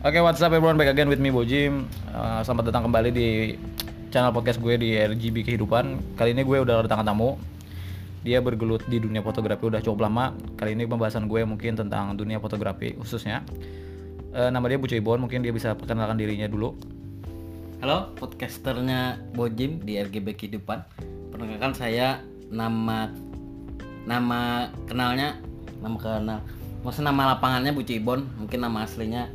Oke, what's up everyone? Back again with me Bojim. Uh, selamat datang kembali di channel podcast gue di RGB Kehidupan. Kali ini gue udah kedatangan tamu. Dia bergelut di dunia fotografi udah cukup lama. Kali ini pembahasan gue mungkin tentang dunia fotografi khususnya. Eh, nama dia Bu Ibon, mungkin dia bisa perkenalkan dirinya dulu. Halo, podcasternya Bojim di RGB Kehidupan. Perkenalkan saya nama nama kenalnya nama kenal. Maksudnya nama lapangannya Bu Cibon, mungkin nama aslinya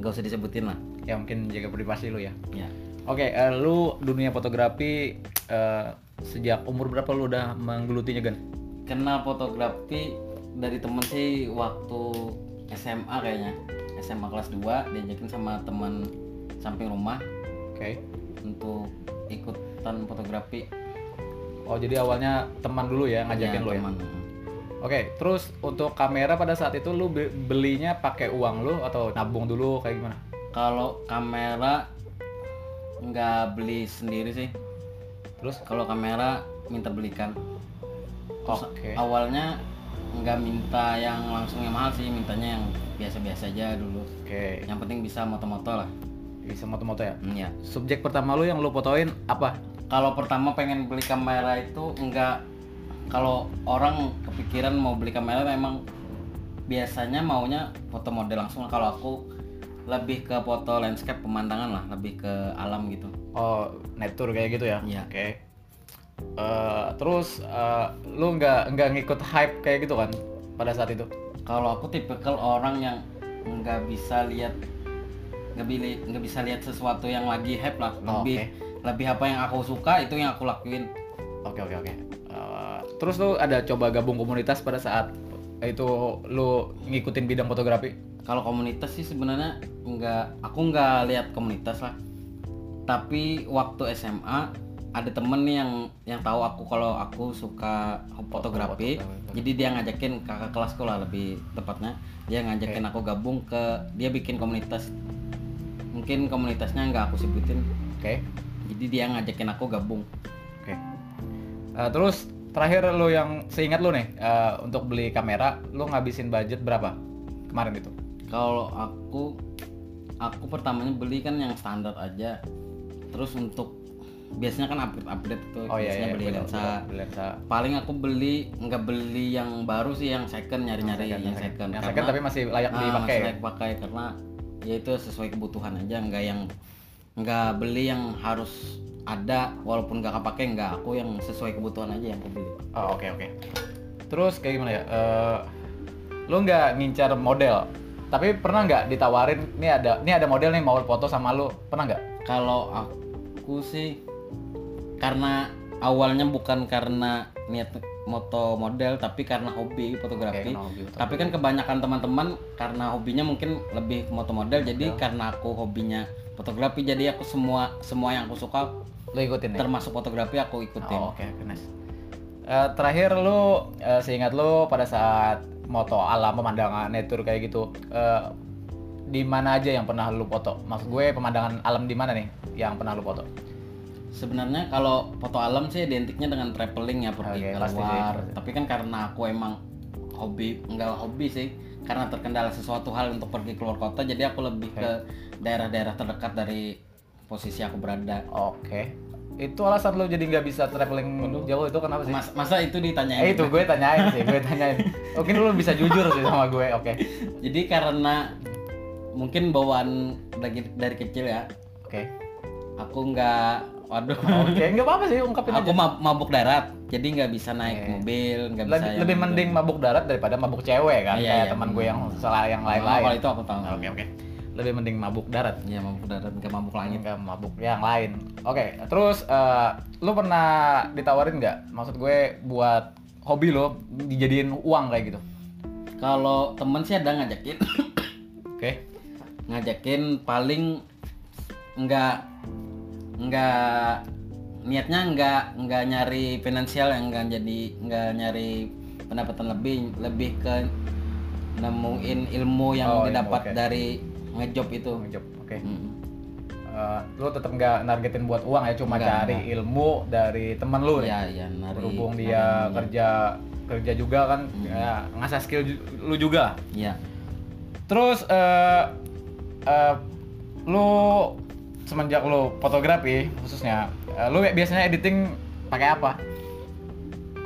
nggak usah disebutin lah. Ya, mungkin jaga privasi lu ya. Ya. Oke, eh, lu dunia fotografi eh, sejak umur berapa lu udah menggelutinya, Gan? Kenal fotografi dari temen sih waktu SMA kayaknya. SMA kelas 2 diajakin sama teman samping rumah Oke. untuk ikutan fotografi. Oh, jadi awalnya teman dulu ya ngajakin Ya, lu ya. teman. Oke, terus untuk kamera pada saat itu lu be- belinya pakai uang lu atau nabung dulu kayak gimana? Kalau kamera nggak beli sendiri sih, Terus kalau kamera minta belikan Terus Oke. awalnya nggak minta yang langsung yang mahal sih mintanya yang biasa-biasa aja dulu oke, yang penting bisa moto-moto lah bisa moto-moto ya. Hmm, ya Subjek pertama lu yang lu fotoin apa? kalau pertama pengen beli kamera itu nggak kalau orang kepikiran mau beli kamera memang biasanya maunya foto model langsung kalau aku lebih ke foto landscape pemandangan lah lebih ke alam gitu Oh, nature kayak gitu ya. Iya. Oke. Eh, terus eh, lu nggak nggak ngikut hype kayak gitu kan pada saat itu? kalau aku tipikal orang yang nggak bisa lihat nggak bili- nggak bisa lihat sesuatu yang lagi hype lah Oh, lebih lebih apa yang aku suka itu yang aku lakuin Oke oke oke. Eh, terus lu ada coba gabung komunitas pada saat itu lu ngikutin bidang fotografi? kalau komunitas sih sebenarnya nggak aku nggak lihat komunitas lah tapi waktu SMA ada temen nih yang yang tahu aku kalau aku suka fotografi fotografi. jadi dia ngajakin kakak kelasku lah lebih tepatnya dia ngajakin aku gabung ke dia bikin komunitas mungkin komunitasnya nggak aku sebutin Oke. jadi dia ngajakin aku gabung Oke. Eh, terus terakhir lo yang seingat lo nih eh, untuk beli kamera, lo ngabisin budget berapa kemarin itu? kalau aku aku pertamanya beli kan yang standar aja terus untuk biasanya kan upgrade upgrade tuh Oh, iya, biasanya beli betul, lensa betul, beli lensa. paling aku beli nggak beli yang baru sih yang second nyari nyari Yang yang, Oh, second, second Yang Karena- second tapi masih layak Ah, dipakai. masih layak pakai karena ya itu sesuai kebutuhan aja nggak yang nggak beli yang harus ada walaupun nggak kepake nggak aku yang sesuai kebutuhan aja yang aku beli Oh, oke oke. Terus kayak gimana ya? Eh, lo nggak ngincar model, tapi pernah nggak ditawarin nih ada nih ada model nih mau foto sama lo pernah nggak? Kalau aku sih karena awalnya bukan karena niat moto model tapi karena hobi fotografi. tapi kan kebanyakan teman-teman karena hobinya mungkin lebih ke moto model jadi Model. karena aku hobinya fotografi jadi aku semua semua yang aku suka lo ikutin ya? termasuk fotografi aku ikutin. Oh, oke, oke, nice. Eh, terakhir lu eh, seingat lu pada saat moto alam pemandangan nature kayak gitu eh, di mana aja yang pernah lu foto? Maksud gue pemandangan alam di mana nih yang pernah lu foto? Sebenarnya kalau foto alam sih identiknya dengan traveling ya pergi Oke, pasti sih, keluar. pasti. Tapi kan karena aku emang hobi enggak hobi sih karena terkendala sesuatu hal untuk pergi keluar kota jadi aku lebih ke daerah-daerah terdekat dari posisi aku berada. Oke. Itu alasan lu jadi nggak bisa traveling jauh itu kenapa sih? Mas- masa itu Eh ditanyain? itu gue tanyain sih, gue tanyain. Mungkin lu bisa jujur sih sama gue. Oke. Jadi karena mungkin bawaan dari, dari kecil ya, Oke. aku nggak waduh Oke, nggak apa-apa sih ungkapin aku aja. ma- mabuk darat jadi nggak bisa naik Oke. mobil nggak bisa Lebih, yang lebih gitu. mending mabuk darat daripada mabuk cewek kan Iya, kayak iya, teman gue bener. yang salah yang Oh, kalau lain-lain. itu aku tahu Oke, oke. Hmm. Lebih mending mabuk darat Iya mabuk darat nggak mabuk langit. nggak mabuk yang lain. Oke, terus eh, lu pernah ditawarin nggak? Maksud gue buat hobi lo dijadiin uang kayak gitu. Kalau temen sih ada ngajakin, Oke. ngajakin paling nggak nggak niatnya nggak nggak nyari finansial yang nggak jadi nggak nyari pendapatan lebih lebih ke nemuin ilmu yang Oh, ilmu, didapat oke. dari ngejob itu. Ngejob. Oke. Mm. Eh, lu tetap nggak nargetin buat uang ya, cuma Nggak, cari ilmu dari temen lu nih. Iya iya nari. Berhubung nari dia ilmunya. kerja kerja juga kan Hmm. ya, ngasah skill ju- lu juga. Iya. Terus eh eh, lu semenjak lu fotografi khususnya eh, lu biasanya editing pakai apa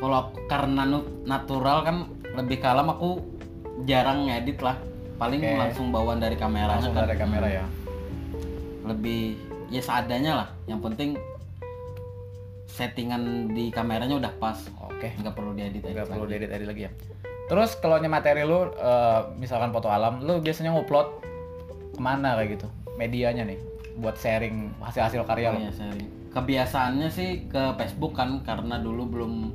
kalau aku- karena nu- natural kan lebih kalem aku jarang ngedit lah paling Oke. langsung bawaan dari kan. kamera langsung dari kamera ya lebih ya seadanya lah yang penting settingan di kameranya udah pas oke nggak perlu diedit Eh, nggak perlu diedit edit lagi ya terus kalau nya materi lu eh, misalkan foto alam lu biasanya ngupload kemana kayak gitu medianya nih buat sharing hasil hasil karya lo Oh iya, sharing. Kebiasaannya sih ke Facebook kan karena dulu belum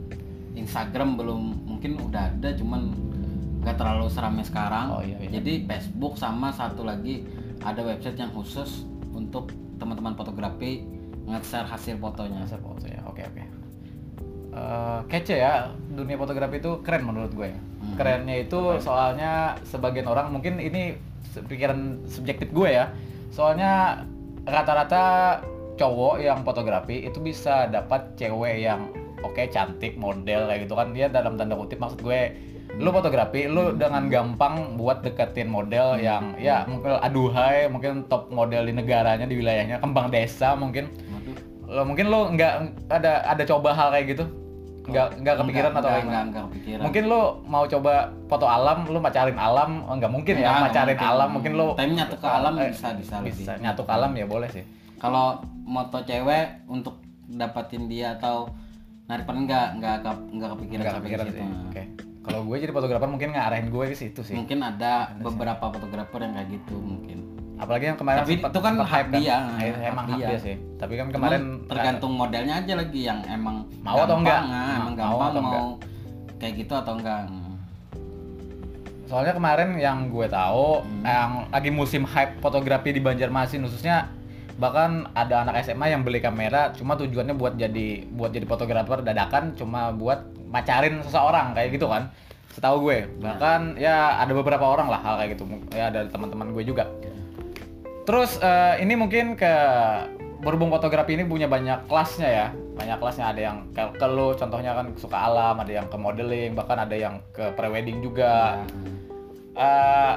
Instagram belum mungkin udah ada cuman nggak terlalu seramai sekarang. Oh, iya, iya. Jadi Facebook sama satu lagi ada website yang khusus untuk teman-teman fotografi nge-share hasil fotonya. hasil foto ya oke oke Eh, kece ya dunia fotografi itu keren menurut gue ya. Hmm. kerennya itu soalnya sebagian orang mungkin ini se- pikiran subjektif gue ya soalnya rata-rata cowok yang fotografi itu bisa dapat cewek yang oke cantik model kayak gitu kan dia dalam tanda kutip maksud gue lu fotografi lu dengan gampang buat deketin model yang ya mungkin aduhai mungkin top model di negaranya di wilayahnya kembang desa mungkin Waduh. lo mungkin lo nggak ada ada coba hal kayak gitu Oh, nggak nggak kepikiran atau enggak, gimana? enggak, enggak kepikiran. mungkin lo mau coba foto alam lo pacarin alam oh, nggak mungkin ya Enggak, pacarin enggak alam mungkin lo Tapi nyatu ke alam Eh, bisa bisa, bisa lebih. nyatu ke alam ya boleh sih Kalau moto cewek untuk dapatin dia atau narik peran nggak nggak ke- nggak kepikiran nggak sampai ke kepikiran situ. sih oke kalau gue jadi fotografer mungkin ngarahin gue ke situ sih Kan mungkin ada beberapa fotografer yang kayak gitu mungkin apalagi yang kemarin Tapi sempat- itu kan sempat hak hype dia, Nah, itu hak emang hak dia. dia sih tapi kan kemarin Cuman tergantung modelnya aja lagi yang emang Mau atau enggak? gampang, ah, emang Mau gampang atau mau enggak? kayak gitu atau enggak Soalnya kemarin yang gue tahu Hmm. yang lagi musim hype fotografi di Banjarmasin khususnya bahkan ada anak SMA yang beli kamera cuma tujuannya buat jadi buat jadi fotografer dadakan cuma buat macarin seseorang kayak gitu kan. Setahu gue. Bahkan ya ada beberapa orang lah hal kayak gitu. Ya ada teman-teman gue juga. Terus eh, ini mungkin ke berhubung fotografi ini punya banyak kelasnya ya, banyak kelasnya ada yang ke, ke lo contohnya kan suka alam, ada yang ke modeling, bahkan ada yang ke prewedding juga. Iya. Eh,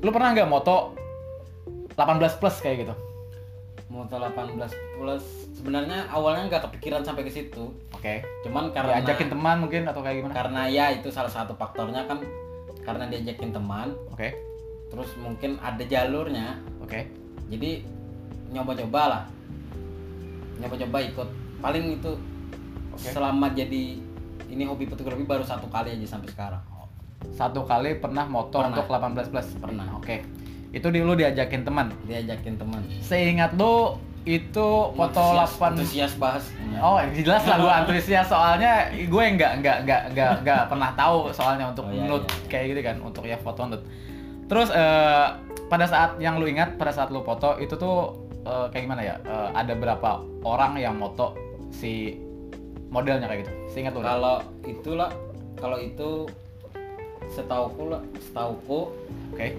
lu pernah nggak moto 18 plus kayak gitu? moto 18 plus sebenarnya awalnya nggak kepikiran sampai ke situ Oke. cuman karena Diajakin teman mungkin atau kayak gimana? karena ya itu salah satu faktornya kan karena diajakin teman Oke. terus mungkin ada jalurnya Oke. jadi nyoba-coba lah nyoba-coba ikut paling itu Oke. selama jadi ini hobi fotografi baru satu kali aja sampai sekarang Satu kali pernah moto Pernah. untuk 18 plus. Pernah. Oke. Itu di lu diajakin teman. diajakin teman Seingat lu itu foto Antusias- 8 antusias bahas Oh, jelas lah gue antusias soalnya gue nggak nggak nggak nggak nggak pernah tahu soalnya untuk Oh, iya, nude iya. kayak gitu kan untuk ya foto nude. Terus eh, pada saat yang lu ingat pada saat lu foto itu tuh eh, kayak gimana ya? Eh, ada berapa orang yang moto si modelnya kayak gitu? Seingat lu? nggak? kalau itulah kalau itu setauku lah setauku Oke.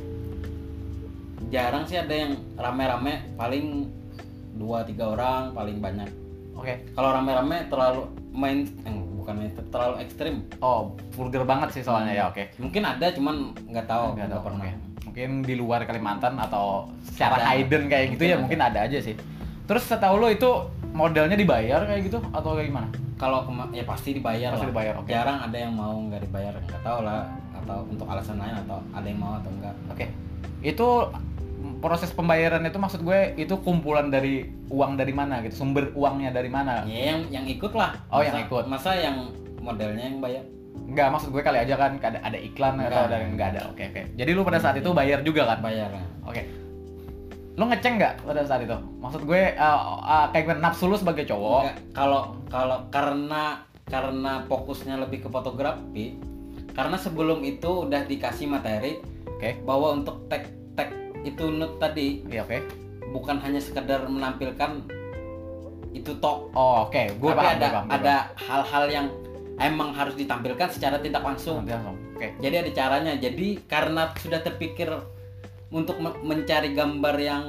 jarang sih ada yang rame-rame paling dua tiga orang paling banyak Oke. kalau rame-rame terlalu main eh, bukan main terlalu ekstrim Oh, vulgar banget sih soalnya ya, oke. mungkin ada cuman nggak Nggak tahu Oh, nggak tahu, pernah oke. Mungkin di luar Kalimantan atau secara Ada. hidden kayak gitu Mungkin ya ada. mungkin ada aja sih. Terus setahu lo itu modelnya dibayar kayak gitu atau kayak gimana? kalau kema- ya pasti dibayar Pasti lah. dibayar, oke. jarang ada yang mau nggak dibayar nggak tahu lah atau untuk alasan lain atau ada yang mau atau enggak Oke. Itu proses pembayaran itu maksud gue itu kumpulan dari uang dari mana gitu, sumber uangnya dari mana? ya yang yang ikut lah Oh, yang ikut. masa yang modelnya yang bayar Enggak, maksud gue kali aja kan ada, ada iklan atau Enggak. ada yang enggak ada. Oke, oke. Jadi lu pada saat itu bayar juga kan? bayar lah. Oke. Lu ngeceng nggak pada saat itu? Maksud gue eh, eh, kayak gimana nafsu lu sebagai cowok? Nggak, kalau kalau karena karena fokusnya lebih ke fotografi karena sebelum itu udah dikasih materi Oke. bahwa untuk tag tag itu nut tadi Iya, oke. bukan hanya sekedar menampilkan itu tok Oh, oke. Gue tapi paham, ada gue paham. gue ada hal-hal yang emang harus ditampilkan secara tidak paham. langsung. Nanti langsung. Oke. Jadi ada caranya. Jadi karena sudah terpikir untuk me- mencari gambar yang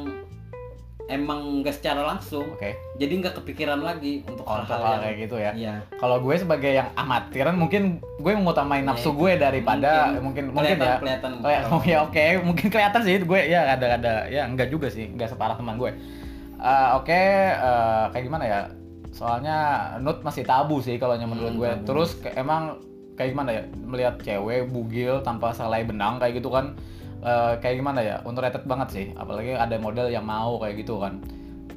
emang nggak secara langsung Oke. jadi nggak kepikiran lagi untuk Kalau hal-hal hal yang kayak gitu ya. iya Kalau gue sebagai yang amatiran mungkin gue mengutamain Ya, nafsu itu. gue daripada mungkin mungkin, kelihatan, ya. kelihatan Oh ya, iya. oh ya, oke, mungkin kelihatan sih gue ya ada ada ya enggak juga sih, enggak separah teman gue. Eh, oke, eh, kayak gimana ya? Soalnya nut masih tabu sih kalau menurut Hmm, gue. tabu. Terus ke- emang kayak gimana ya melihat cewek bugil tanpa selai benang kayak gitu kan eh, kayak gimana ya? Underrated banget sih, apalagi ada model yang mau kayak gitu kan.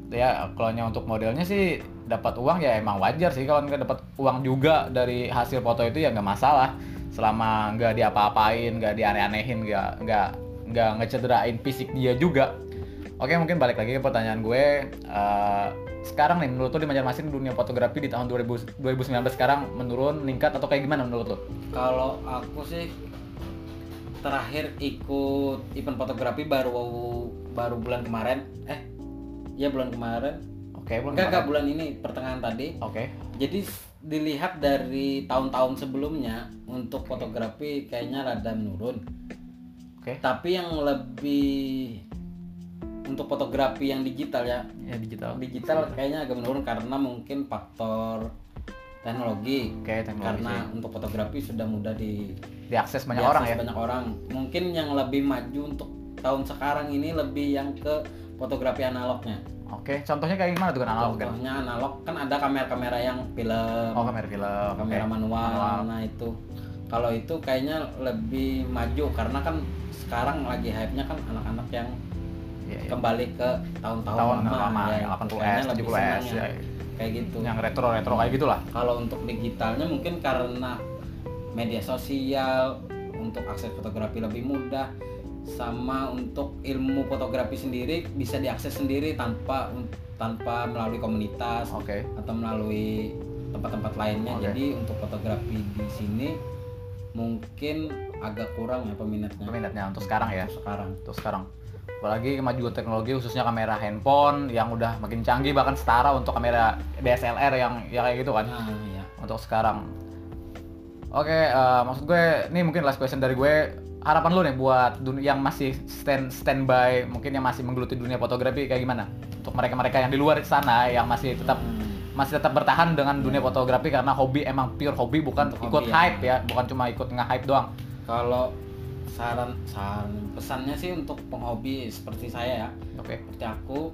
Ya, kalau nya untuk modelnya sih dapat uang ya emang wajar sih kalau nggak dapat uang juga dari hasil foto itu ya nggak masalah selama nggak diapa-apain, nggak dianeh-anehin, nggak nggak nggak ngecederain fisik dia juga. Oke, mungkin balik lagi ke pertanyaan gue. Eh, sekarang nih, menurut lo di Banjarmasin dunia fotografi di tahun 2000, 2019 sekarang menurun, meningkat atau kayak gimana menurut lo? Kalau aku sih terakhir ikut event fotografi baru baru bulan kemarin. Eh, ya bulan kemarin. Oke, belum. Enggak, enggak bulan ini pertengahan tadi. Oke. Jadi s- dilihat dari tahun-tahun sebelumnya untuk fotografi kayaknya rada menurun. Oke. Tapi yang lebih untuk fotografi yang digital ya, Ya digital. digital kayaknya agak menurun karena mungkin faktor teknologi. Oke, teknologi. Karena untuk fotografi sudah mudah di diakses banyak diakses orang ya. Iya, banyak orang mungkin yang lebih maju untuk tahun sekarang ini lebih yang ke fotografi analognya Oke, contohnya kayak gimana tuh kan analog kan? contohnya analog kan ada kamera-kamera yang film Oh, kamera film. Oke. kamera manual, Manual. nah itu kalau itu kayaknya lebih maju karena kan sekarang lagi hype-nya kan anak-anak yang Iya, iya. kembali ke tahun-tahun Tahun lama, iya, lama, ya. yang 80s, Kayaknya lebih 70s, senang ya. yang kayak gitu yang retro-retro kayak gitu gitulah. kalau untuk digitalnya mungkin karena media sosial untuk akses fotografi lebih mudah sama untuk ilmu fotografi sendiri bisa diakses sendiri tanpa tanpa melalui komunitas Oke. atau melalui tempat-tempat lainnya Oke. jadi untuk fotografi di sini mungkin agak kurang ya peminatnya Peminatnya untuk sekarang ya. sekarang Terus sekarang apalagi kemajuan teknologi khususnya kamera handphone yang udah makin canggih bahkan setara untuk kamera DSLR yang ya kayak gitu kan nah ya untuk sekarang oke eh, maksud gue ini mungkin last question dari gue harapan lu nih buat dunia yang masih stand standby mungkin yang masih menggeluti dunia fotografi kayak gimana untuk mereka-mereka yang di luar sana yang masih tetap Hmm, masih tetap bertahan dengan dunia fotografi karena hobi emang pure hobi bukan Iya. Untuk ikut hobi ya. hype ya bukan cuma ikut nge-hype doang kalau saran saran pesannya sih untuk penghobi seperti saya ya oke seperti aku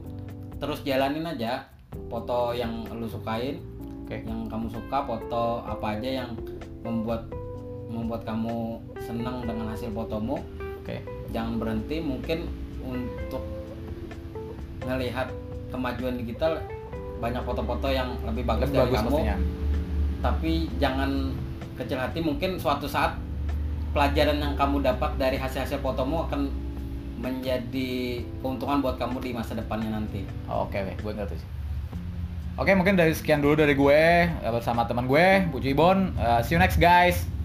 terus jalanin aja foto yang lu sukain Oke. yang kamu suka foto apa aja yang membuat membuat kamu senang dengan hasil fotomu oke jangan berhenti mungkin untuk melihat kemajuan digital banyak foto-foto yang lebih bagus lebih dari bagus kamu pastinya tapi jangan kecil hati mungkin suatu saat pelajaran yang kamu dapat dari hasil-hasil fotomu akan menjadi keuntungan buat kamu di masa depannya nanti Oke, oke, gue ngerti sih. Oke, mungkin dari sekian dulu dari gue eh, bersama teman gue, Puji Ibon. Eh, see you next guys.